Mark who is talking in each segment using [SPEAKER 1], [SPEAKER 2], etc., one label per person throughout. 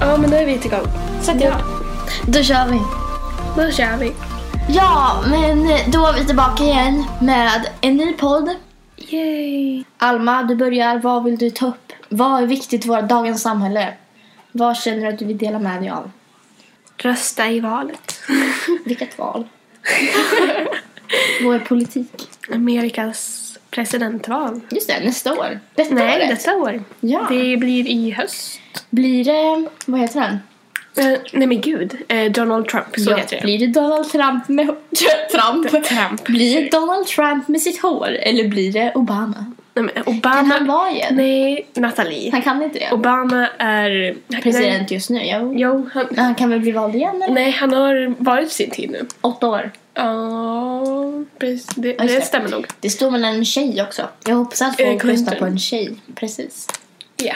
[SPEAKER 1] ready to go.
[SPEAKER 2] Sätt
[SPEAKER 3] Ja.
[SPEAKER 2] Då kör vi.
[SPEAKER 1] Då kör vi.
[SPEAKER 2] Ja, men då är vi tillbaka igen med en ny podd.
[SPEAKER 1] Yay.
[SPEAKER 2] Alma, du börjar. Vad vill du ta upp? Vad är viktigt i vårt dagens samhälle? Vad känner du att du vill dela med dig av?
[SPEAKER 1] Rösta i valet.
[SPEAKER 2] Vilket val? Vår politik.
[SPEAKER 1] Amerikas presidentval.
[SPEAKER 2] Just det, nästa år. Detta
[SPEAKER 1] Nej,
[SPEAKER 2] året.
[SPEAKER 1] detta år.
[SPEAKER 2] Ja.
[SPEAKER 1] Det blir i höst.
[SPEAKER 2] Blir det... Vad heter han?
[SPEAKER 1] Eh, nej men gud, Eh, Donald Trump, så heter det.
[SPEAKER 2] blir det Donald Trump med... Trump.
[SPEAKER 1] Trump.
[SPEAKER 2] Blir det Donald Trump med sitt hår? Eller blir det Obama?
[SPEAKER 1] Nej, men
[SPEAKER 2] Kan han
[SPEAKER 1] Obama...
[SPEAKER 2] vara igen?
[SPEAKER 1] Nej, Nathalie.
[SPEAKER 2] Han kan inte det.
[SPEAKER 1] Obama är...
[SPEAKER 2] President just nu. Jo.
[SPEAKER 1] Nej, jo, han,
[SPEAKER 2] Han kan väl bli vald igen? Eller?
[SPEAKER 1] nej, han har varit sin tid nu.
[SPEAKER 2] Åtta år.
[SPEAKER 1] Ja, precis. det,
[SPEAKER 2] Ja, just
[SPEAKER 1] det
[SPEAKER 2] det.
[SPEAKER 1] stämmer nog.
[SPEAKER 2] Det står mellan en tjej också. Jag hoppas att
[SPEAKER 1] Eh,
[SPEAKER 2] folk röstar
[SPEAKER 1] Clinton.
[SPEAKER 2] på en tjej. Precis.
[SPEAKER 1] Ja.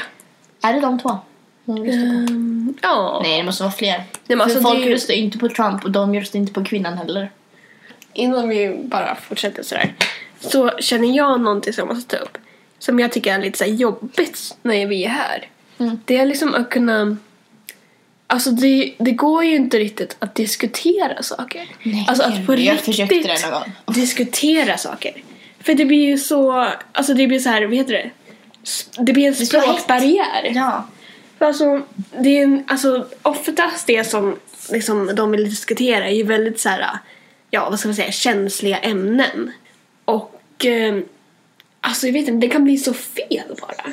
[SPEAKER 2] Är det de två? De röstar på?
[SPEAKER 1] Ehm, Ja.
[SPEAKER 2] Nej, det måste vara fler.
[SPEAKER 1] men alltså,
[SPEAKER 2] För folk
[SPEAKER 1] det är ju-
[SPEAKER 2] röstar inte på Trump och de röstar inte på kvinnan heller.
[SPEAKER 1] Innan vi bara fortsätter sådär. Så känner jag någonting som jag måste ta upp. Som jag tycker är lite såhär jobbigt när vi är här.
[SPEAKER 2] Mm.
[SPEAKER 1] Det är liksom att kunna... Alltså det, det går ju inte riktigt att diskutera saker.
[SPEAKER 2] Nej,
[SPEAKER 1] alltså att på
[SPEAKER 2] jag
[SPEAKER 1] riktigt
[SPEAKER 2] försökte det någon gång.
[SPEAKER 1] diskutera saker. För det blir ju så... Alltså det blir så här, vad heter det? Sp- Det blir en
[SPEAKER 2] blir så hett.
[SPEAKER 1] språkbarriär.
[SPEAKER 2] Ja.
[SPEAKER 1] För Alltså, det är en, alltså, oftast det som liksom, de vill diskutera är ju väldigt så här, ja vad ska man säga, känsliga ämnen. Och eh, alltså jag vet inte, det kan bli så fel bara.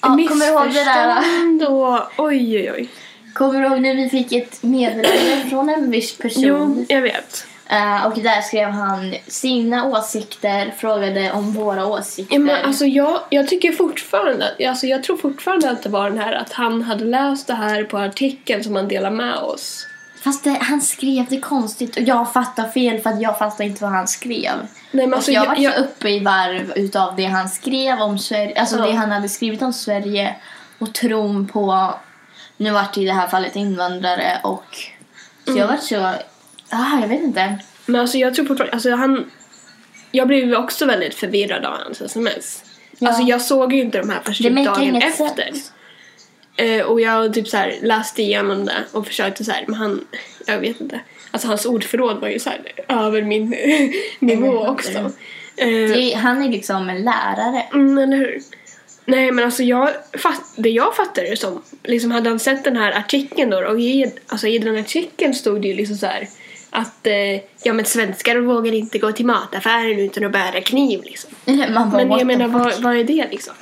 [SPEAKER 2] ja kommer du ihåg det där?
[SPEAKER 1] Missförstånd och oj oj oj.
[SPEAKER 2] Kommer du ihåg när vi fick ett meddelande från en viss person?
[SPEAKER 1] Jo, jag vet.
[SPEAKER 2] Eh, och där skrev han sina åsikter, frågade om våra
[SPEAKER 1] Ja,
[SPEAKER 2] åsikter.
[SPEAKER 1] men, alltså, jag, jag tycker fortfarande, alltså, jag tror fortfarande att det var den här att han hade läst det här på artikeln som han delade med oss.
[SPEAKER 2] Fast det, han skrev det konstigt och jag fattar fel för att jag fattar inte vad han skrev.
[SPEAKER 1] Nej, men, alltså,
[SPEAKER 2] och jag,
[SPEAKER 1] jag,
[SPEAKER 2] var så
[SPEAKER 1] jag,
[SPEAKER 2] uppe i varv utav det han skrev om Sverige, alltså
[SPEAKER 1] Ja.
[SPEAKER 2] det han hade skrivit om Sverige och tron på, nu vart det i det här fallet invandrare och så
[SPEAKER 1] Mm.
[SPEAKER 2] jag var så, ah, jag vet inte.
[SPEAKER 1] men alltså, jag tror fortfarande, alltså, han, jag blev ju också väldigt förvirrad av hans sms.
[SPEAKER 2] Ja.
[SPEAKER 1] Alltså jag såg ju inte de här först
[SPEAKER 2] Det
[SPEAKER 1] typ
[SPEAKER 2] make
[SPEAKER 1] dagen
[SPEAKER 2] inget
[SPEAKER 1] efter.
[SPEAKER 2] sense.
[SPEAKER 1] Eh, och jag typ så här läste igenom det och försökte så här, men han, jag vet inte. Alltså hans ordförråd var ju så här över min nivå
[SPEAKER 2] fattar
[SPEAKER 1] också.
[SPEAKER 2] det.
[SPEAKER 1] Eh,
[SPEAKER 2] Det, är- han är liksom en lärare.
[SPEAKER 1] Mm, eller hur? Nej, men alltså jag, fatt, det jag fattar det som, liksom hade han sett den här artikeln då och i, alltså i den artikeln stod det ju liksom så här att eh, ja men svenskar vågar inte gå till mataffären utan att bära kniv liksom.
[SPEAKER 2] Eller man bara,
[SPEAKER 1] Men
[SPEAKER 2] what
[SPEAKER 1] jag
[SPEAKER 2] the
[SPEAKER 1] menar
[SPEAKER 2] fuck?
[SPEAKER 1] vad, vad är det liksom?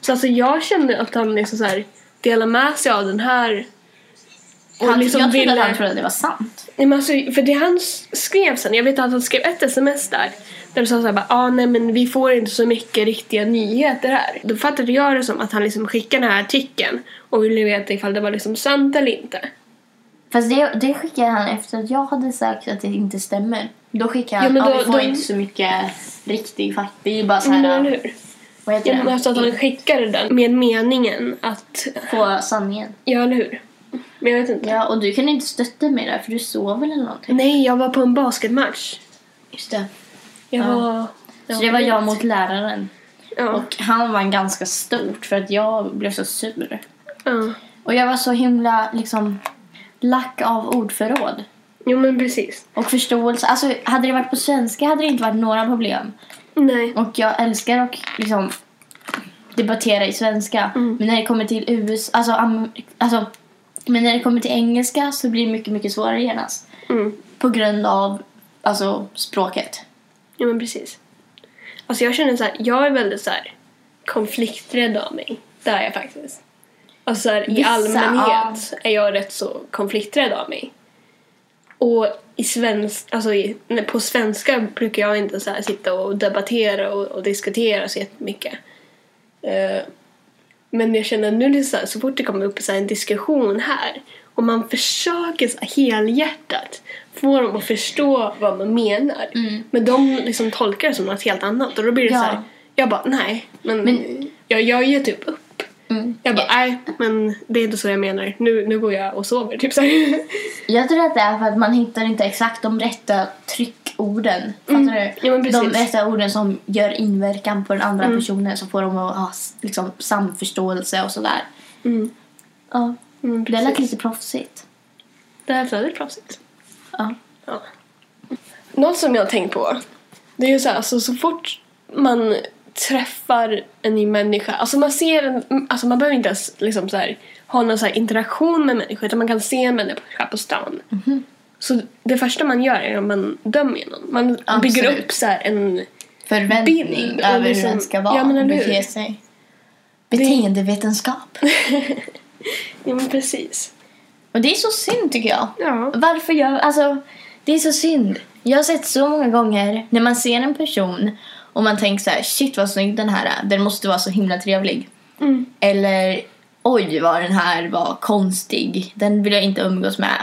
[SPEAKER 1] Så alltså jag kände att han liksom så här delar med sig av den här och
[SPEAKER 2] han,
[SPEAKER 1] liksom
[SPEAKER 2] jag trodde
[SPEAKER 1] ville-
[SPEAKER 2] att han trodde att det var sant.
[SPEAKER 1] Nej, men alltså, för det han s- skrev sen, jag vet att han skrev ett sms där. Där det sa såhär bara, ah, nej men vi får inte så mycket riktiga nyheter här. Då fattade jag det som att han liksom skickade den här artikeln och ville veta ifall det var liksom sant eller inte.
[SPEAKER 2] Fast det, det skickade han efter att jag hade sagt att det inte stämmer. Då skickade han,
[SPEAKER 1] Ja,
[SPEAKER 2] ja,
[SPEAKER 1] men då-
[SPEAKER 2] vi får
[SPEAKER 1] då-
[SPEAKER 2] inte så mycket riktig fakta. Det är bara så
[SPEAKER 1] Mm,
[SPEAKER 2] här,
[SPEAKER 1] eller hur?
[SPEAKER 2] vad heter
[SPEAKER 1] Ja, men
[SPEAKER 2] det?
[SPEAKER 1] alltså att han skickade den med meningen att,
[SPEAKER 2] Få sanningen.
[SPEAKER 1] ja eller hur? Men jag vet inte.
[SPEAKER 2] Ja, och du kan inte stötta mig där för du sover eller någonting.
[SPEAKER 1] Nej, jag var på en basketmatch.
[SPEAKER 2] Just det.
[SPEAKER 1] Jag
[SPEAKER 2] Ja.
[SPEAKER 1] var...
[SPEAKER 2] Så det var jag mot läraren.
[SPEAKER 1] Ja.
[SPEAKER 2] Och han vann ganska stort för att jag blev så sur.
[SPEAKER 1] ja.
[SPEAKER 2] Och jag var så himla liksom lack av ordförråd.
[SPEAKER 1] Jo men precis.
[SPEAKER 2] Och förståelse. Alltså hade det varit på svenska hade det inte varit några problem.
[SPEAKER 1] Nej.
[SPEAKER 2] Och jag älskar att liksom debattera i svenska. Men när det kommer till US, alltså, am, alltså men när det kommer till engelska så blir det mycket, mycket svårare genast.
[SPEAKER 1] Mm.
[SPEAKER 2] På grund av alltså språket.
[SPEAKER 1] Ja men precis. Alltså jag känner så här, jag är väldigt så här konflikträdd av mig. Det är jag faktiskt. Alltså så här, i
[SPEAKER 2] Vissa,
[SPEAKER 1] allmänhet är jag rätt så konflikträdd av mig. Och i svensk, alltså i, nej, på svenska brukar jag inte så här sitta och debattera och, och diskutera så jättemycket. Eh, men jag känner nu det är så, här, så fort det kommer upp så här en diskussion här och man försöker så här helhjärtat få dem att förstå vad man menar. Men de liksom tolkar det som något helt annat och då blir det
[SPEAKER 2] Ja.
[SPEAKER 1] så här. Jag bara nej, men,
[SPEAKER 2] Men-
[SPEAKER 1] jag, jag ger typ upp.
[SPEAKER 2] Mm.
[SPEAKER 1] Jag bara nej, men det är inte så jag menar. Nu, nu går jag och sover typ så här.
[SPEAKER 2] Jag tror att det är för att man hittar inte exakt de rätta tryckorden. Fattar
[SPEAKER 1] Mm.
[SPEAKER 2] du?
[SPEAKER 1] Ja, men precis. Mm.
[SPEAKER 2] de rätta orden som gör inverkan på den andra personen som får dem att ha s- liksom, samförståelse och sådär.
[SPEAKER 1] Mm.
[SPEAKER 2] Ja.
[SPEAKER 1] Mm,
[SPEAKER 2] Det lät
[SPEAKER 1] precis.
[SPEAKER 2] lite proffsigt.
[SPEAKER 1] Det här flödet är proffsigt.
[SPEAKER 2] Ja.
[SPEAKER 1] Ja. Något som jag har tänkt på, det är ju så här, alltså, så fort man träffar en ny människa, alltså man ser en, alltså man behöver inte ens liksom så här, ha någon så här interaktion med människor utan man kan se en människa på stan. Så det första man gör är att man dömer någon. Man bygger
[SPEAKER 2] Absolut.
[SPEAKER 1] upp så här en...
[SPEAKER 2] Förväntning
[SPEAKER 1] Bild och
[SPEAKER 2] över hur
[SPEAKER 1] liksom-
[SPEAKER 2] den ska vara.
[SPEAKER 1] Ja, men eller hur? Mm.
[SPEAKER 2] bete sig. Beteendevetenskap.
[SPEAKER 1] Ja men precis.
[SPEAKER 2] Och det är så synd tycker jag.
[SPEAKER 1] Ja.
[SPEAKER 2] Varför gör... Alltså, det är så synd. Jag har sett så många gånger när man ser en person och man tänker så här, shit vad snygg den här är. Den måste vara så himla trevlig.
[SPEAKER 1] Mm.
[SPEAKER 2] Eller, oj vad den här var konstig. Den vill jag inte umgås med.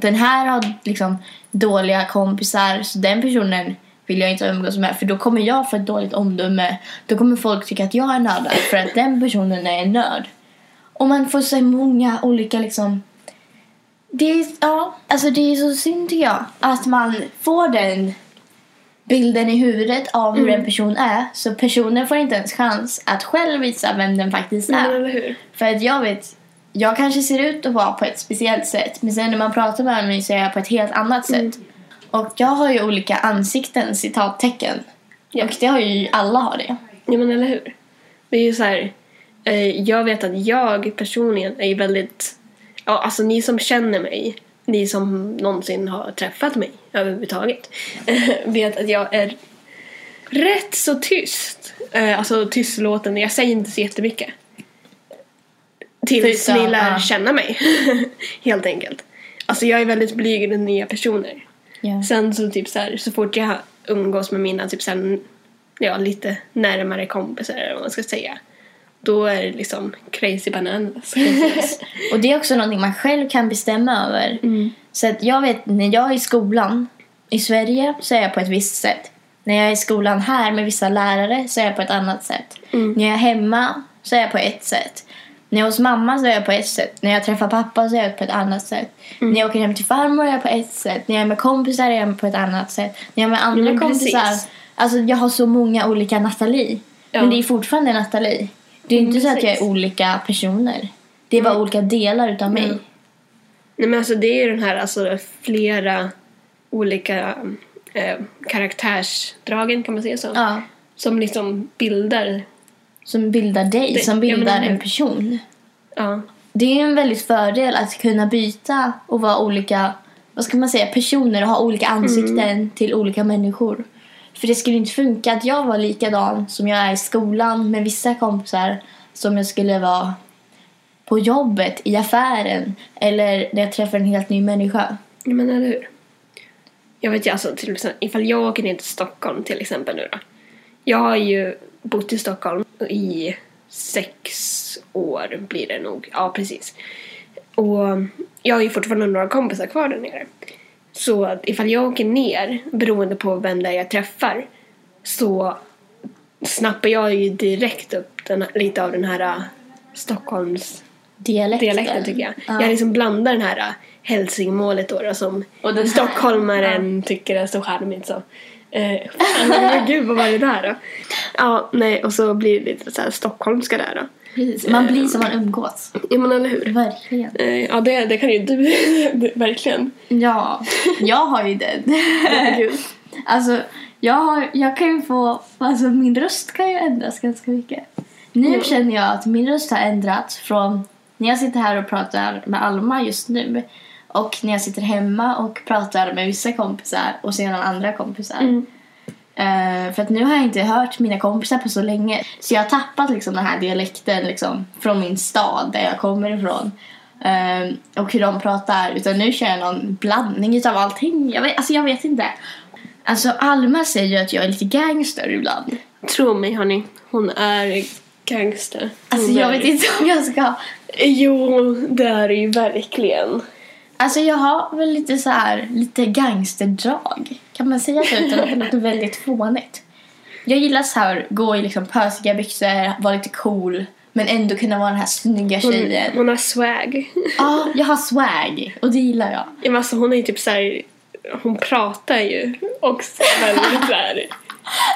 [SPEAKER 2] Den här har liksom dåliga kompisar så den personen vill jag inte umgås med för då kommer jag få ett dåligt omdöme. Då kommer folk tycka att jag är nördad för att den personen är en nörd. Och man får så många olika liksom det är, ja, alltså det är så synd tycker jag. Att man får den bilden i huvudet av hur en person är. Så personen får inte ens chans att själv visa vem den faktiskt
[SPEAKER 1] Men,
[SPEAKER 2] är.
[SPEAKER 1] eller hur?
[SPEAKER 2] För att jag vet, jag kanske ser ut att vara på ett speciellt sätt. Men sen när man pratar med mig så är jag på ett helt annat sätt. Och jag har ju olika ansikten, citattecken.
[SPEAKER 1] Ja.
[SPEAKER 2] Och det har ju, alla har det.
[SPEAKER 1] Ja men eller hur? Det är ju så här, eh, jag vet att jag personligen är ju väldigt, ja alltså ni som känner mig, ni som någonsin har träffat mig överhuvudtaget, eh, vet att jag är rätt så tyst. Eh, alltså tystlåten, jag säger inte så jättemycket. Tills
[SPEAKER 2] Förutom,
[SPEAKER 1] ni lär
[SPEAKER 2] ja.
[SPEAKER 1] känna mig, helt enkelt. Alltså jag är väldigt blyg med nya personer. Sen så typ så här, så fort jag umgås med mina typ så här, ja, lite närmare kompisar eller vad man ska säga. Då är det liksom crazy bananas.
[SPEAKER 2] Precis. Och det är också någonting man själv kan bestämma över. Så att jag vet, när jag är i skolan i Sverige så är jag på ett visst sätt. När jag är i skolan här med vissa lärare så är jag på ett annat sätt. När jag är hemma så är jag på ett sätt. När jag är hos mamma så är jag på ett sätt. När jag träffar pappa så är jag på ett annat sätt. När jag åker hem till farmor är jag på ett sätt. När jag är med kompisar är jag på ett annat sätt. När jag är med andra
[SPEAKER 1] men precis.
[SPEAKER 2] kompisar. Alltså jag har så många olika Nathalie.
[SPEAKER 1] Ja.
[SPEAKER 2] Men det är fortfarande Nathalie. Det är
[SPEAKER 1] Mm,
[SPEAKER 2] inte så att jag
[SPEAKER 1] precis.
[SPEAKER 2] är olika personer. Det är bara olika delar utav mig.
[SPEAKER 1] Mm. Nej men alltså det är ju den här alltså flera olika eh, karaktärsdragen kan man säga så.
[SPEAKER 2] Ja.
[SPEAKER 1] Som liksom bildar,
[SPEAKER 2] Som bildar dig,
[SPEAKER 1] Det-
[SPEAKER 2] som
[SPEAKER 1] ja, men
[SPEAKER 2] bildar
[SPEAKER 1] eller hur?
[SPEAKER 2] en person.
[SPEAKER 1] ja.
[SPEAKER 2] Det är ju en väldigt fördel att kunna byta och vara olika, vad ska man säga, personer och ha olika ansikten
[SPEAKER 1] Mm.
[SPEAKER 2] till olika människor. För det skulle inte funka att jag var likadan som jag är i skolan med vissa kompisar som jag skulle vara på jobbet, i affären eller när jag träffar en helt ny människa.
[SPEAKER 1] Ja, men eller hur? Jag vet ju alltså, till exempel, ifall jag åker ner till Stockholm till exempel nu då. Jag har ju bott i Stockholm i sex år blir det nog. Ja, precis. Och jag har ju fortfarande några kompisar kvar där nere. Så att ifall jag åker ner, beroende på vem det är jag träffar, så snappar jag ju direkt upp den, lite av den här äh, Stockholms
[SPEAKER 2] Dialekten.
[SPEAKER 1] dialekten tycker jag.
[SPEAKER 2] Ja.
[SPEAKER 1] Jag liksom blandar den här äh, hälsingemålet då, då som
[SPEAKER 2] Och den här-
[SPEAKER 1] stockholmaren tycker är så charmigt så. Eh, fan, men gud vad var det där då? Ja, nej och så blir det lite så här stockholmska där då.
[SPEAKER 2] Precis. Man blir som man umgås.
[SPEAKER 1] Ja men eller hur?
[SPEAKER 2] Verkligen.
[SPEAKER 1] Eh, ja det, det kan ju du det- verkligen.
[SPEAKER 2] Ja, jag har ju den.
[SPEAKER 1] Gud.
[SPEAKER 2] Alltså, jag, har, jag kan ju få... Alltså, min röst kan ju ändras ganska mycket. Nu känner jag att min röst har ändrats från när jag sitter här och pratar med Alma just nu och när jag sitter hemma och pratar med vissa kompisar och sedan andra kompisar. Eh, för att nu har jag inte hört mina kompisar på så länge. Så jag har tappat liksom den här dialekten liksom, från min stad där jag kommer ifrån. Eh, och hur de pratar. Utan nu kör jag någon blandning utav allting. Jag vet, alltså jag vet inte. Alltså Alma säger ju att jag är lite gangster ibland.
[SPEAKER 1] Tro mig hörni, hon är gangster. Hon
[SPEAKER 2] Alltså jag
[SPEAKER 1] är-
[SPEAKER 2] vet inte om jag ska...
[SPEAKER 1] Jo, det är det ju verkligen.
[SPEAKER 2] Alltså jag har väl lite så här, lite gangsterdrag. Kan man säga det utan att det låter väldigt fånigt? Jag gillar så här, gå i liksom pösiga byxor, vara lite cool. Men ändå kunna vara den här snygga
[SPEAKER 1] Hon,
[SPEAKER 2] tjejen.
[SPEAKER 1] hon har swag.
[SPEAKER 2] Ja, jag har swag. Och det gillar jag.
[SPEAKER 1] Ja, men alltså hon är ju typ såhär, hon pratar ju också väldigt såhär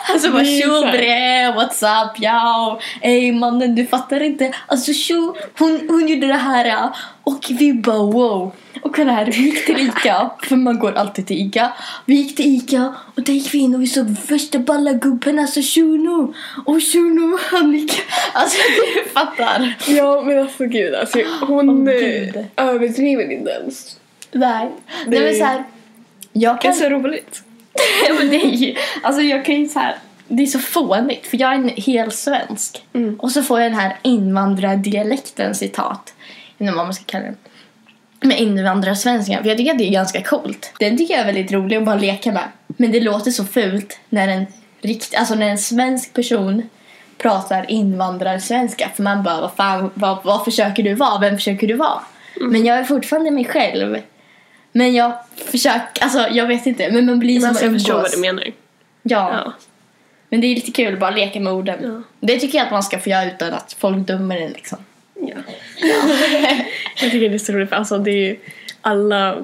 [SPEAKER 2] Alltså bara
[SPEAKER 1] Det är så
[SPEAKER 2] tjo
[SPEAKER 1] här.
[SPEAKER 2] bre, what's up, ja. Ey mannen du fattar inte. Alltså tjo, hon, hon gjorde det här ja. och vi bara wow. Och kolla här, vi gick till Ica, för man går alltid till Ica. Vi gick till Ica och där gick vi in och vi såg värsta balla gubben, alltså tjono. Och tjono han gick, alltså du fattar.
[SPEAKER 1] Ja, men alltså gud. Alltså, hon
[SPEAKER 2] Åh,
[SPEAKER 1] oh,
[SPEAKER 2] gud.
[SPEAKER 1] överdriver inte ens.
[SPEAKER 2] Nej,
[SPEAKER 1] Det
[SPEAKER 2] Nej
[SPEAKER 1] är
[SPEAKER 2] men
[SPEAKER 1] ju-
[SPEAKER 2] såhär. Jag
[SPEAKER 1] Det är
[SPEAKER 2] kan
[SPEAKER 1] så roligt.
[SPEAKER 2] Ja, men det är ju, alltså jag kan ju så här, det är så fånigt för jag är en hel svensk.
[SPEAKER 1] Mm.
[SPEAKER 2] Och så får jag den här invandrardialekten citat. Jag vet inte vad man ska kalla den. Med invandrarsvenskan. För jag tycker att det är ganska coolt. Den tycker jag är väldigt rolig att bara leka med. Men det låter så fult när en, rikt, alltså när en svensk person pratar invandrarsvenska. För man bara, vad fan, vad, vad försöker du vara? Vem försöker du vara?
[SPEAKER 1] Mm.
[SPEAKER 2] Men jag är fortfarande mig själv. Men jag försöker, alltså jag vet inte. Men man blir
[SPEAKER 1] Men
[SPEAKER 2] som
[SPEAKER 1] alltså, jag förstår
[SPEAKER 2] umgås.
[SPEAKER 1] vad du menar.
[SPEAKER 2] Ja,
[SPEAKER 1] Ja.
[SPEAKER 2] men det är lite kul att bara leka med orden.
[SPEAKER 1] Ja.
[SPEAKER 2] Det tycker jag att man ska få göra utan att folk dömer en liksom.
[SPEAKER 1] Ja. jag tycker det är så roligt för alltså det är ju alla,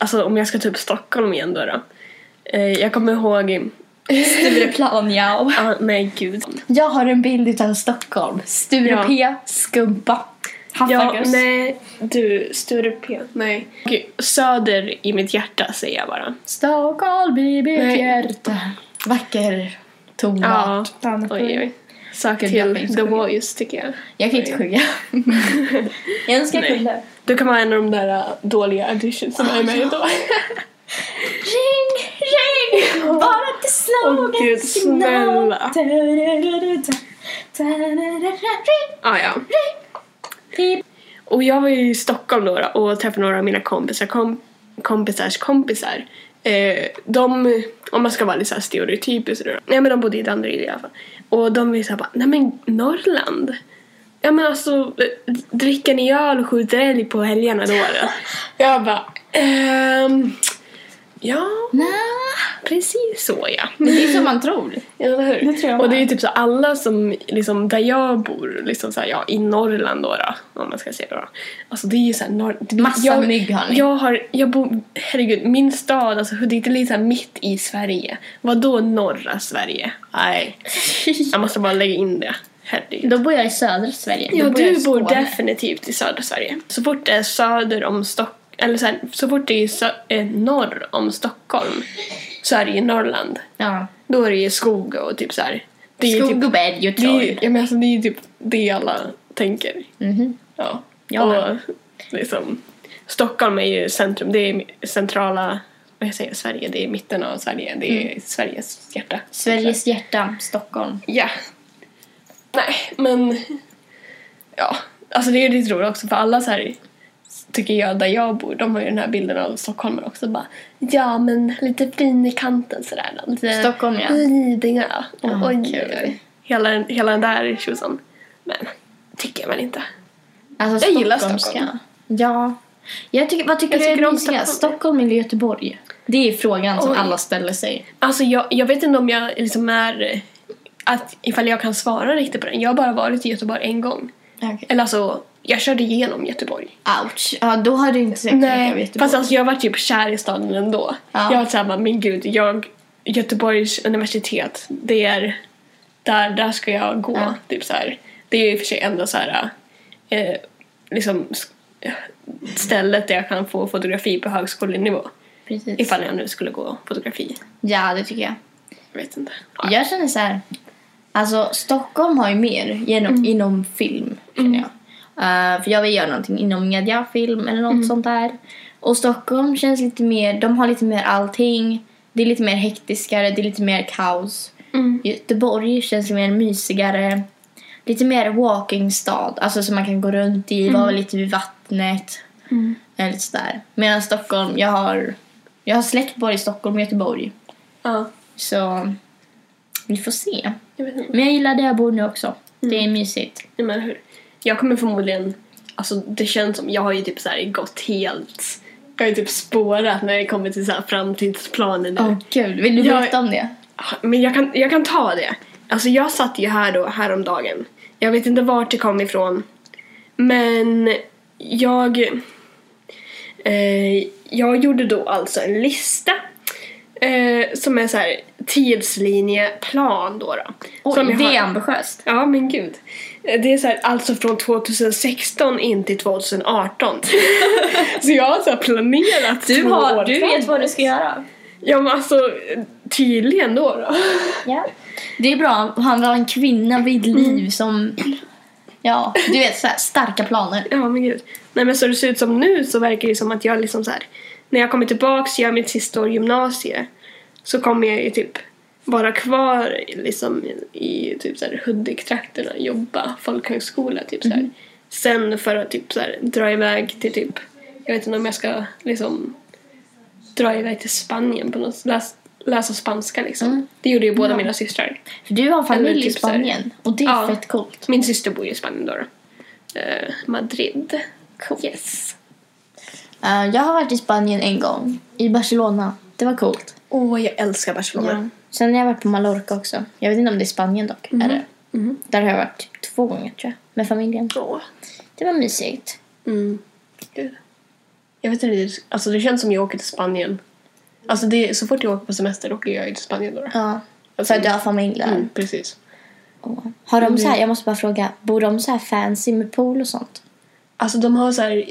[SPEAKER 1] alltså om jag ska ta upp Stockholm igen då. då. Eh, jag kommer ihåg,
[SPEAKER 2] Stureplan, ja.
[SPEAKER 1] ah, nej gud.
[SPEAKER 2] Jag har en bild utan Stockholm. Sture P, Skumpa,
[SPEAKER 1] Ja,
[SPEAKER 2] Haffagös.
[SPEAKER 1] nej, du, Sture P. Nej. Okej, söder i mitt hjärta säger jag bara.
[SPEAKER 2] Stockholm i mitt
[SPEAKER 1] Nej.
[SPEAKER 2] hjärta. Vacker tonart.
[SPEAKER 1] oj oj. Sök
[SPEAKER 2] Gud, jag
[SPEAKER 1] till
[SPEAKER 2] skäms
[SPEAKER 1] The
[SPEAKER 2] själv.
[SPEAKER 1] Voice tycker jag.
[SPEAKER 2] Jag kan inte sjunga. jag önskar jag
[SPEAKER 1] Nej.
[SPEAKER 2] kunde.
[SPEAKER 1] Du kan vara en av de där äh, dåliga auditions som är med idag.
[SPEAKER 2] Ring, ring, bara till
[SPEAKER 1] Åh,
[SPEAKER 2] slaget.
[SPEAKER 1] gud,
[SPEAKER 2] signal.
[SPEAKER 1] snälla.
[SPEAKER 2] Ta-ra-ra-ra-ta, ta-ra-ra-ra, ring,
[SPEAKER 1] ah, ja.
[SPEAKER 2] ring.
[SPEAKER 1] Och jag var ju i Stockholm då och träffade några av mina kompisar, kom, kompisars kompisar. Eh, de, om man ska vara lite så här stereotypisk då. Nej men de bodde i Danderyd i alla fall. Och de var ju såhär bara, nej men Norrland. Ja men alltså, eh, dricker ni öl och skjuter älg på helgerna då? då? jag bara, ehm, ja
[SPEAKER 2] Nej.
[SPEAKER 1] precis så ja.
[SPEAKER 2] Men det är som man tror.
[SPEAKER 1] Ja, eller hur?
[SPEAKER 2] Det tror jag
[SPEAKER 1] och det är ju
[SPEAKER 2] med.
[SPEAKER 1] typ så alla som, liksom där jag bor, liksom så ja, i Norrland då, då om man ska säga det då. Alltså det är ju såhär, norr... det-
[SPEAKER 2] Massa
[SPEAKER 1] jag,
[SPEAKER 2] mygg har ni.
[SPEAKER 1] Jag har, jag bor, herregud, min stad, alltså Hudik, det ligger såhär mitt i Sverige. Vadå norra Sverige? Nej. Jag måste bara lägga in det. Herregud.
[SPEAKER 2] Då bor jag i södra Sverige.
[SPEAKER 1] Ja,
[SPEAKER 2] Då jag i
[SPEAKER 1] du bor
[SPEAKER 2] Skåne.
[SPEAKER 1] definitivt i södra Sverige. Så fort det är söder om Stockholm, eller så, så fort det är sö- eh, norr om Stockholm så är det ju Norrland.
[SPEAKER 2] Ja.
[SPEAKER 1] Då är det ju skog och typ så här. Det är ju typ,
[SPEAKER 2] Skog och berg och
[SPEAKER 1] det är, ju-
[SPEAKER 2] troll.
[SPEAKER 1] ja, men alltså, det är ju typ det alla tänker.
[SPEAKER 2] Mhm.
[SPEAKER 1] Ja.
[SPEAKER 2] Ja.
[SPEAKER 1] Och liksom, Stockholm är ju centrum, det är centrala, vad jag säger, Sverige, det är mitten av Sverige, det är Sveriges hjärta.
[SPEAKER 2] Sveriges hjärta, Stockholm.
[SPEAKER 1] Ja. Nej, men ja, alltså det är ju lite roligt också för alla så här tycker jag där jag bor, de har ju den här bilden av Stockholm också bara ja men lite fin i kanten sådär. Lite
[SPEAKER 2] Stockholm, ja.
[SPEAKER 1] Lidingö. Och,
[SPEAKER 2] Ja,
[SPEAKER 1] oj,
[SPEAKER 2] kul.
[SPEAKER 1] oj, oj. Hela, den- hela den där tjosan. Men tycker man inte.
[SPEAKER 2] Alltså,
[SPEAKER 1] Jag gillar
[SPEAKER 2] stockholmska.
[SPEAKER 1] Stockholm.
[SPEAKER 2] Ja. Jag tycker, vad tycker
[SPEAKER 1] Jag
[SPEAKER 2] du är
[SPEAKER 1] tycker om
[SPEAKER 2] mysigast? Stockholm.
[SPEAKER 1] Stockholm.
[SPEAKER 2] eller Göteborg? Det är frågan som
[SPEAKER 1] Oj.
[SPEAKER 2] alla ställer sig.
[SPEAKER 1] Alltså jag, jag vet inte om jag liksom är att ifall jag kan svara riktigt på den. Jag har bara varit i Göteborg en gång. Eller alltså, jag körde igenom Göteborg.
[SPEAKER 2] Ouch. Ja, då har du inte säkert jag
[SPEAKER 1] Nej,
[SPEAKER 2] vet
[SPEAKER 1] fast alltså jag var typ kär i staden ändå.
[SPEAKER 2] Ja.
[SPEAKER 1] Jag var såhär, men gud, jag, Göteborgs universitet, det är där, där ska jag gå.
[SPEAKER 2] Ja.
[SPEAKER 1] Typ så här. Det är ju i och för sig ändå så här, eh, liksom s- stället där jag kan få fotografi på högskolenivå.
[SPEAKER 2] Precis.
[SPEAKER 1] Ifall jag nu skulle gå fotografi.
[SPEAKER 2] Ja, det tycker jag.
[SPEAKER 1] Jag vet inte. Ja.
[SPEAKER 2] Jag känner så här. Alltså Stockholm har ju mer genom,
[SPEAKER 1] Mm.
[SPEAKER 2] inom film. Känner jag. Eh, för jag vill göra någonting inom media, film eller något
[SPEAKER 1] Mm.
[SPEAKER 2] sånt där. Och Stockholm känns lite mer, de har lite mer allting. Det är lite mer hektiskare, det är lite mer kaos.
[SPEAKER 1] Mm.
[SPEAKER 2] Göteborg känns mer mysigare. Lite mer walkingstad, alltså som man kan gå runt i, vara lite vid vattnet.
[SPEAKER 1] Mm.
[SPEAKER 2] Eller lite sådär. Medan Stockholm, jag har, jag har släkt både i Stockholm och Göteborg.
[SPEAKER 1] Ja,
[SPEAKER 2] Så vi får se.
[SPEAKER 1] jag vet inte.
[SPEAKER 2] Men jag gillar där jag bor nu också. Det är mysigt.
[SPEAKER 1] Jag menar hur? Jag kommer förmodligen... Alltså det känns som... Jag har ju typ så här gått helt... Jag har ju typ spårat när det kommer till så här framtidsplaner nu.
[SPEAKER 2] Åh gud, vill du
[SPEAKER 1] Jag-
[SPEAKER 2] berätta om det?
[SPEAKER 1] Men jag kan, jag kan ta det. Alltså jag satt ju här då häromdagen. Jag vet inte vart det kom ifrån. Men jag... Eh, jag gjorde då alltså en lista eh, som är så här tidslinjeplan då. då
[SPEAKER 2] Oj,
[SPEAKER 1] Som jag
[SPEAKER 2] det är
[SPEAKER 1] har-
[SPEAKER 2] ambitiöst.
[SPEAKER 1] Ja, men gud. Det är så här, alltså från 2016 in till 2018. så jag har så här planerat
[SPEAKER 2] Du,
[SPEAKER 1] två
[SPEAKER 2] har,
[SPEAKER 1] år
[SPEAKER 2] du
[SPEAKER 1] framåt.
[SPEAKER 2] vet vad du ska göra.
[SPEAKER 1] Ja, men alltså tydligen då. då.
[SPEAKER 2] Ja. Mm. Det är bra. Han var en kvinna vid liv som... Ja, du vet så här, starka planer.
[SPEAKER 1] Ja, men gud. Nej, men så det ser ut som nu så verkar det som att jag liksom så här. När jag kommer tillbaks, gör mitt sista år gymnasie. Så kommer jag ju typ vara kvar liksom i typ så här Hudik-trakterna, jobba folkhögskola typ så här. Sen för att typ så här dra iväg till typ, jag vet inte om jag ska liksom dra iväg till Spanien på något läs, läsa spanska liksom. Det gjorde ju båda mina systrar.
[SPEAKER 2] För du har
[SPEAKER 1] Eller
[SPEAKER 2] familj i
[SPEAKER 1] typ så här-
[SPEAKER 2] Spanien och det är
[SPEAKER 1] Ja.
[SPEAKER 2] fett coolt.
[SPEAKER 1] Min syster bor ju i Spanien då. då. Eh, Madrid. Yes.
[SPEAKER 2] Eh, jag har varit i Spanien en gång, i Barcelona. Det var coolt.
[SPEAKER 1] Åh, jag älskar Barcelona.
[SPEAKER 2] Ja. Mm-hmm. Sen har jag varit på Mallorca också. Jag vet inte om det är Spanien dock. Är det? Där har jag varit typ två gånger tror jag, med familjen.
[SPEAKER 1] Ja.
[SPEAKER 2] Det var mysigt.
[SPEAKER 1] Mm. Gud. Jag vet inte, det är- alltså det känns som jag åker till Spanien. Alltså det, är- så fort jag åker på semester åker jag ju till Spanien då. då.
[SPEAKER 2] Ja.
[SPEAKER 1] Alltså,
[SPEAKER 2] För att jag har familj där.
[SPEAKER 1] mm, precis.
[SPEAKER 2] Och Har de så här, jag måste bara fråga, bor de så här fancy med pool och sånt?
[SPEAKER 1] Alltså de har så här...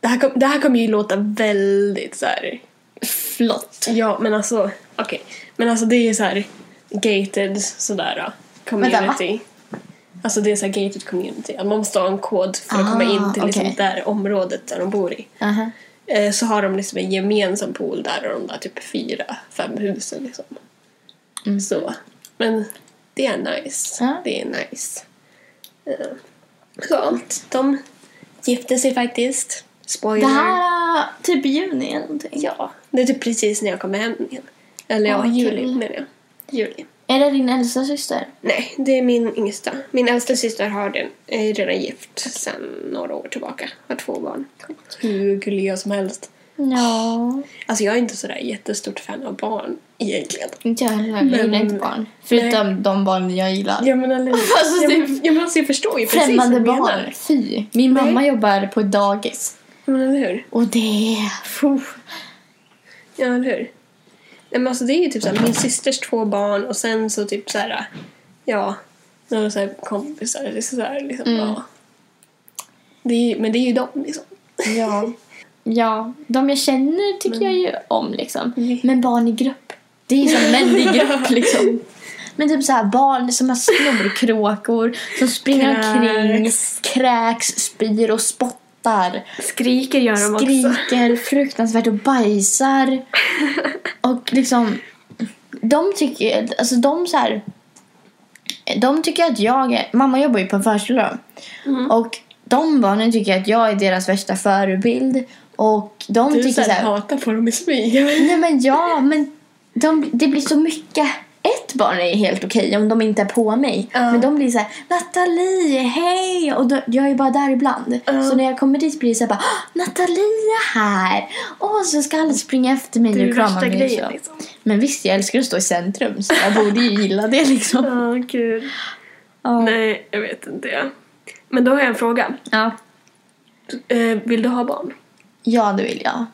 [SPEAKER 1] Det här, kom, det här kommer ju låta väldigt så här...
[SPEAKER 2] Flott.
[SPEAKER 1] Ja, men alltså... Okej. Men alltså det är ju så här gated sådär då. Community. alltså det är så här gated community. Att Man måste ha en kod för att
[SPEAKER 2] Ah,
[SPEAKER 1] komma in till liksom
[SPEAKER 2] okej.
[SPEAKER 1] det där området där de bor i.
[SPEAKER 2] Aha.
[SPEAKER 1] Eh, så har de liksom en gemensam pool där och de där typ fyra, fem husen liksom. Så. Men det är nice.
[SPEAKER 2] Ja.
[SPEAKER 1] Det är nice. Eh, så de gifte sig faktiskt. Spoiler.
[SPEAKER 2] Det här är typ i juni eller någonting.
[SPEAKER 1] Ja, det är typ precis när jag kommer hem igen. Eller ja,
[SPEAKER 2] Åh, vad
[SPEAKER 1] juli
[SPEAKER 2] kul.
[SPEAKER 1] menar jag. Juli.
[SPEAKER 2] Är det din äldsta syster?
[SPEAKER 1] Nej, det är min yngsta. Min äldsta syster har den, är redan gift sedan några år tillbaka. Har två barn. Hur gulliga som helst.
[SPEAKER 2] Ja.
[SPEAKER 1] Alltså jag är inte sådär jättestort fan av barn egentligen.
[SPEAKER 2] Inte jag heller. Jag gillar inte barn. Förutom de barn jag gillar.
[SPEAKER 1] Ja men eller
[SPEAKER 2] Alltså,
[SPEAKER 1] ja, men,
[SPEAKER 2] typ-
[SPEAKER 1] ja, men alltså, jag förstår ju precis
[SPEAKER 2] Främmande
[SPEAKER 1] vad du menar.
[SPEAKER 2] barn. Fy. Min
[SPEAKER 1] Nej.
[SPEAKER 2] mamma jobbar på ett dagis.
[SPEAKER 1] Ja, men eller hur?
[SPEAKER 2] Och det är... fuh.
[SPEAKER 1] Ja eller hur? Nej men alltså det är ju typ såhär min systers två barn och sen så typ såhär ja, några såhär kompisar eller sådär liksom. Ja. Det är, ju- men det är ju dem liksom.
[SPEAKER 2] Ja. ja. De jag känner tycker jag ju om liksom.
[SPEAKER 1] Mm.
[SPEAKER 2] Men barn i grupp. Det är som män i grupp liksom. Men typ såhär barn som har snorkråkor som springer omkring, kräks, spyr och spottar.
[SPEAKER 1] Skriker gör de
[SPEAKER 2] skriker fruktansvärt och bajsar. Och liksom, de tycker, alltså de så här, de tycker att jag är, mamma jobbar ju på en förskola. Och de barnen tycker att jag är deras värsta förebild. Och de
[SPEAKER 1] Du
[SPEAKER 2] tycker så
[SPEAKER 1] såhär
[SPEAKER 2] här,
[SPEAKER 1] hatar på dem i smyg.
[SPEAKER 2] nej men ja, men de, det blir så mycket. Ett barn är helt okej om de inte är på mig.
[SPEAKER 1] Ja.
[SPEAKER 2] Men de blir så här, Nathalie, hej! Och då, jag är bara där ibland.
[SPEAKER 1] Ja.
[SPEAKER 2] Så när jag kommer dit blir det så här bara, "Ah, Nathalie är här! Och så ska alla springa efter mig
[SPEAKER 1] Det är
[SPEAKER 2] och krama
[SPEAKER 1] värsta
[SPEAKER 2] mig.
[SPEAKER 1] grejen,
[SPEAKER 2] så.
[SPEAKER 1] liksom.
[SPEAKER 2] Men visst, jag älskar att stå i centrum så jag borde ju gilla det liksom.
[SPEAKER 1] Ja, gud.
[SPEAKER 2] Ja.
[SPEAKER 1] Nej, jag vet inte. ja. Men då har jag en fråga.
[SPEAKER 2] Ja.
[SPEAKER 1] Eh, vill du ha barn?
[SPEAKER 2] ja, det vill jag.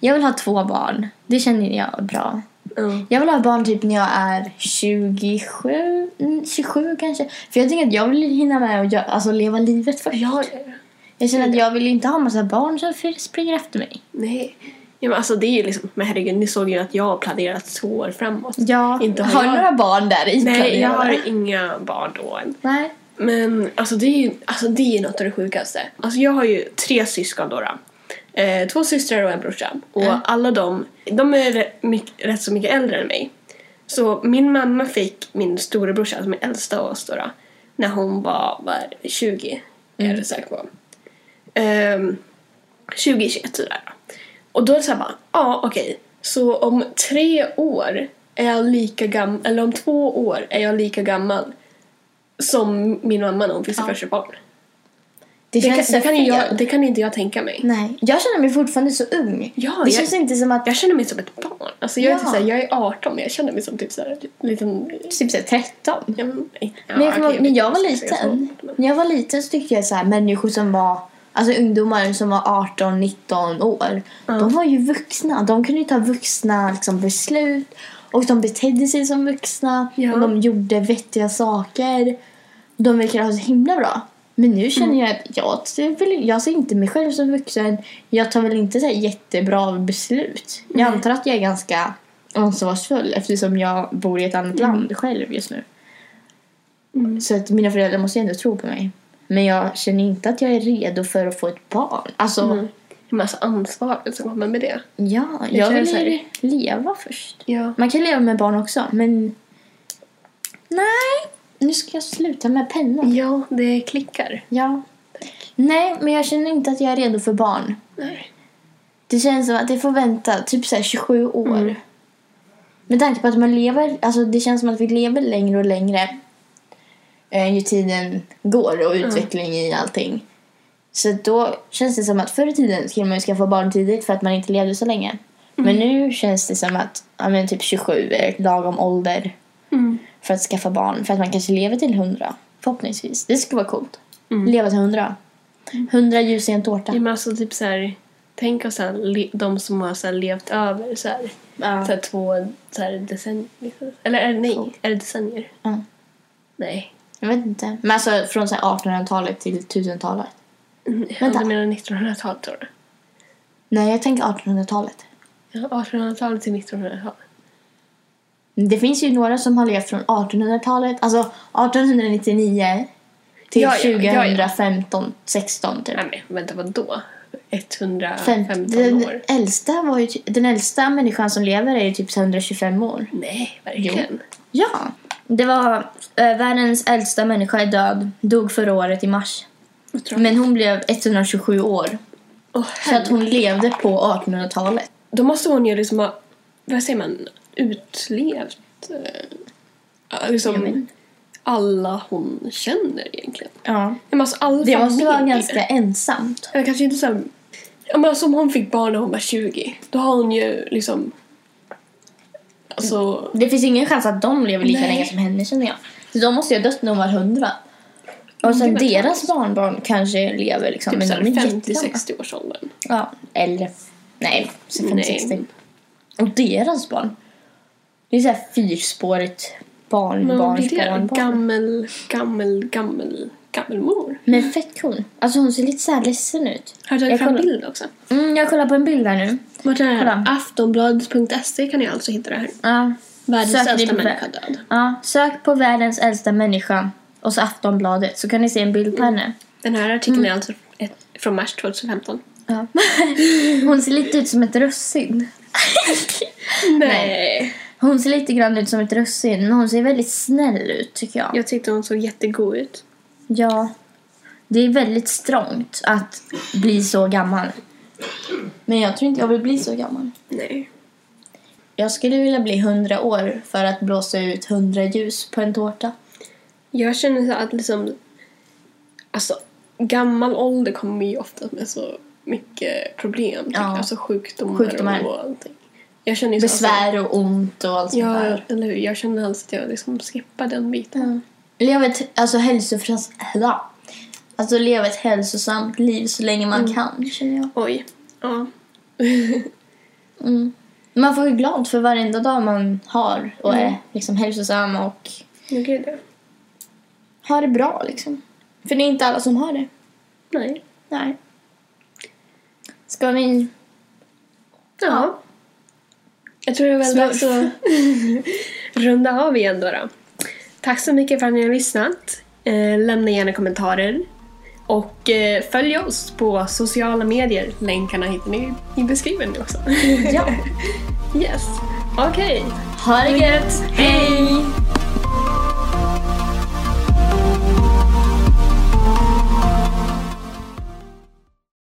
[SPEAKER 2] Jag vill ha två barn. Det känner jag är bra.
[SPEAKER 1] Mm.
[SPEAKER 2] Jag vill ha barn typ när jag är 27, mm, 27 kanske. För jag tänker att jag vill hinna med att göra, alltså leva livet först.
[SPEAKER 1] Ja, ja, ja.
[SPEAKER 2] Jag känner att jag vill inte ha massa barn som f- springer efter mig.
[SPEAKER 1] Nej. Ja, men alltså det är ju liksom, men herregud, ni såg ju att jag har planerat så år framåt.
[SPEAKER 2] Ja,
[SPEAKER 1] Inte har
[SPEAKER 2] har du
[SPEAKER 1] jag-
[SPEAKER 2] några barn där i
[SPEAKER 1] Nej, jag
[SPEAKER 2] planerade?
[SPEAKER 1] har inga barn då än.
[SPEAKER 2] Nej.
[SPEAKER 1] Men alltså det är ju alltså, det är något av det sjukaste. Alltså jag har ju tre syskon då. då. Eh, två systrar och en brorsa. Och alla de, de är re- mycket, rätt så mycket äldre än mig. Så min mamma fick min storebrorsa, som är äldst av oss då, då när hon var, var 20. Är jag rätt säker på. Ehm, 2021 sådär. Och då är det såhär bara, ja okej. Så om tre år är jag lika gammal, eller om två år är jag lika gammal som min mamma när hon fick sitt första barn.
[SPEAKER 2] Det,
[SPEAKER 1] Det kan,
[SPEAKER 2] känns
[SPEAKER 1] det, kan ju
[SPEAKER 2] fel.
[SPEAKER 1] jag, det kan inte jag tänka mig.
[SPEAKER 2] Nej, jag känner mig fortfarande så ung.
[SPEAKER 1] Ja,
[SPEAKER 2] det
[SPEAKER 1] jag-
[SPEAKER 2] känns inte som att
[SPEAKER 1] Jag känner mig som ett barn. Alltså jag, är
[SPEAKER 2] Ja.
[SPEAKER 1] typ såhär, jag är 18 men jag känner mig som typ såhär liten...
[SPEAKER 2] typ så här 13.
[SPEAKER 1] Ja, men, nej. Ja,
[SPEAKER 2] men jag, kommer
[SPEAKER 1] okej,
[SPEAKER 2] ihåg, när jag var
[SPEAKER 1] ska säga så,
[SPEAKER 2] liten,
[SPEAKER 1] men-
[SPEAKER 2] när jag var liten så tyckte jag så här människor som var Alltså ungdomar som var 18-19 år, de var ju vuxna. De kunde ju ta vuxna liksom, beslut Och de betedde sig som vuxna
[SPEAKER 1] Ja.
[SPEAKER 2] och de gjorde vettiga saker. De verkar ha så himla bra. Men nu känner
[SPEAKER 1] Mm.
[SPEAKER 2] jag att jag, ser väl- jag ser inte mig själv som vuxen. Jag tar väl inte så här jättebra beslut. Jag antar att jag är ganska ansvarsfull eftersom jag bor i ett annat land själv just nu.
[SPEAKER 1] Mm.
[SPEAKER 2] Så att mina föräldrar måste ju ändå tro på mig. Men jag känner inte att jag är redo för att få ett barn. Alltså,
[SPEAKER 1] Mm. Det är massa ansvar som kommer med det.
[SPEAKER 2] ja,
[SPEAKER 1] Jag
[SPEAKER 2] jag
[SPEAKER 1] känner
[SPEAKER 2] vill
[SPEAKER 1] så här-
[SPEAKER 2] ju leva först.
[SPEAKER 1] Ja.
[SPEAKER 2] Man kan leva med barn också, men... Nej, nu ska jag sluta med pennan.
[SPEAKER 1] Ja, det klickar.
[SPEAKER 2] Ja. Nej, men jag känner inte att jag är redo för barn.
[SPEAKER 1] Nej.
[SPEAKER 2] Det känns som att det får vänta typ så här 27 år.
[SPEAKER 1] Mm.
[SPEAKER 2] Med tanke på att man lever, alltså det känns som att vi lever längre och längre eh, ju tiden går och utveckling i allting. Så att då känns det som att förr i tiden skulle man ju skaffa barn tidigt för att man inte levde så länge. Men
[SPEAKER 1] Mm.
[SPEAKER 2] nu känns det som att ja, men typ 27 är lagom ålder
[SPEAKER 1] Mm.
[SPEAKER 2] för att skaffa barn. För att man kanske lever till 100, förhoppningsvis. Det skulle vara coolt.
[SPEAKER 1] Mm.
[SPEAKER 2] Leva till 100. 100 ljus i en tårta.
[SPEAKER 1] Ja, men alltså typ så här, tänk oss så här, le- de som har så här, levt över så här,
[SPEAKER 2] Ja.
[SPEAKER 1] så här, två så här, decennier. Eller är det, nej, är det decennier?
[SPEAKER 2] Ja.
[SPEAKER 1] Nej.
[SPEAKER 2] Jag vet inte. Men alltså från så här 1800-talet till 1000-talet.
[SPEAKER 1] Mm,
[SPEAKER 2] Vänta.
[SPEAKER 1] Du menar 1900-talet tror du?
[SPEAKER 2] Nej, jag tänker 1800-talet.
[SPEAKER 1] Ja, 1800-talet till 1900-talet.
[SPEAKER 2] Det finns ju några som har levt från 1800-talet, alltså 1899 till
[SPEAKER 1] Ja, ja, ja, ja.
[SPEAKER 2] 2015, 16 typ.
[SPEAKER 1] Nej, nej, vänta, vad då?
[SPEAKER 2] Fem,
[SPEAKER 1] 115
[SPEAKER 2] den,
[SPEAKER 1] år?
[SPEAKER 2] äldsta var ju, ty- den äldsta människan som lever är ju typ 125 år.
[SPEAKER 1] Nej, verkligen.
[SPEAKER 2] Ja. Det var eh, världens äldsta människa är död, dog förra året i mars.
[SPEAKER 1] Vad tror du?
[SPEAKER 2] Men hon blev 127 år.
[SPEAKER 1] Åh,
[SPEAKER 2] Så att hon levde på 1800-talet.
[SPEAKER 1] Då måste hon ju liksom ha, vad säger man, utlevt eh,
[SPEAKER 2] Jag
[SPEAKER 1] liksom
[SPEAKER 2] men.
[SPEAKER 1] alla hon känner egentligen.
[SPEAKER 2] Ja.
[SPEAKER 1] Ja, Men alltså, all
[SPEAKER 2] Det
[SPEAKER 1] familj.
[SPEAKER 2] måste vara ganska ensamt.
[SPEAKER 1] Jag kanske inte så här, ja, men alltså, om hon fick barn när hon var 20, då har hon ju liksom... Alltså,
[SPEAKER 2] Det finns ingen chans att de lever lika
[SPEAKER 1] Nej.
[SPEAKER 2] länge som henne känner jag. Så de måste ju ha dött när de var hundra. Och sen
[SPEAKER 1] Det är verkligen
[SPEAKER 2] deras barnbarn kanske lever liksom.
[SPEAKER 1] typ
[SPEAKER 2] men
[SPEAKER 1] så
[SPEAKER 2] de är jättegamla.
[SPEAKER 1] 50-60 års åldern.
[SPEAKER 2] Ja, eller... Nej,
[SPEAKER 1] Nej.
[SPEAKER 2] 50-60. Och deras barn. Det är så här fyrspårigt barn,
[SPEAKER 1] Men vad
[SPEAKER 2] barn,
[SPEAKER 1] blir det?
[SPEAKER 2] barn,
[SPEAKER 1] då?
[SPEAKER 2] barn.
[SPEAKER 1] Gammel, gammel, gammel, gammelmor.
[SPEAKER 2] Men fett cool. Alltså hon ser lite så här ledsen ut.
[SPEAKER 1] Har du tagit
[SPEAKER 2] Jag
[SPEAKER 1] fram
[SPEAKER 2] kollar-
[SPEAKER 1] bild också?
[SPEAKER 2] Mm, jag kollar på en bild här nu.
[SPEAKER 1] Vart är det här?
[SPEAKER 2] Kolla.
[SPEAKER 1] Aftonbladet.se kan jag alltså hitta det här.
[SPEAKER 2] Ja.
[SPEAKER 1] Världens
[SPEAKER 2] Sök
[SPEAKER 1] äldsta
[SPEAKER 2] din vä-
[SPEAKER 1] människa död.
[SPEAKER 2] Ja, sök på världens äldsta människa och så Aftonbladet så kan ni se en bild på henne.
[SPEAKER 1] Den här artikeln
[SPEAKER 2] Mm.
[SPEAKER 1] är alltså ett, från mars 2015.
[SPEAKER 2] Ja. Hon ser lite ut som ett russin.
[SPEAKER 1] Nej.
[SPEAKER 2] Hon ser lite grann ut som ett russin, men hon ser väldigt snäll ut tycker jag.
[SPEAKER 1] Jag tyckte hon såg jättegod ut.
[SPEAKER 2] Ja. Det är väldigt strångt att bli så gammal. Men jag tror inte jag vill bli så gammal.
[SPEAKER 1] Nej.
[SPEAKER 2] Jag skulle vilja bli 100 år för att blåsa ut 100 ljus på en tårta.
[SPEAKER 1] Jag känner så att liksom... Alltså, gammal ålder kommer ju ofta med så mycket problem. tycker
[SPEAKER 2] Ja.
[SPEAKER 1] jag. Alltså sjukdomar,
[SPEAKER 2] Sjukdomar.
[SPEAKER 1] och allting. Jag känner ju så-
[SPEAKER 2] Besvär och ont och allt
[SPEAKER 1] Alltså,
[SPEAKER 2] sånt
[SPEAKER 1] ja, Mm.
[SPEAKER 2] där.
[SPEAKER 1] eller hur? Jag känner alltså att jag liksom skippar den biten.
[SPEAKER 2] Leva ett, alltså, hälsofras... alltså leva ett hälsosamt liv så länge man kan, känner jag.
[SPEAKER 1] Oj. Ja.
[SPEAKER 2] Man får ju glad för varenda dag man har och är liksom hälsosam och
[SPEAKER 1] Nu gud ja.
[SPEAKER 2] har det bra liksom. För det är inte alla som har det.
[SPEAKER 1] Nej.
[SPEAKER 2] Nej. Ska vi...
[SPEAKER 1] Ja. Jag tror det är väl
[SPEAKER 2] Smurf.
[SPEAKER 1] dags att runda av igen då, då. Tack så mycket för att ni har lyssnat. Eh, lämna gärna kommentarer. Och eh, följ oss på sociala medier. Länkarna hittar ni i beskrivningen också.
[SPEAKER 2] Ja.
[SPEAKER 1] yes. Okej.
[SPEAKER 2] Ha det gött! Hej!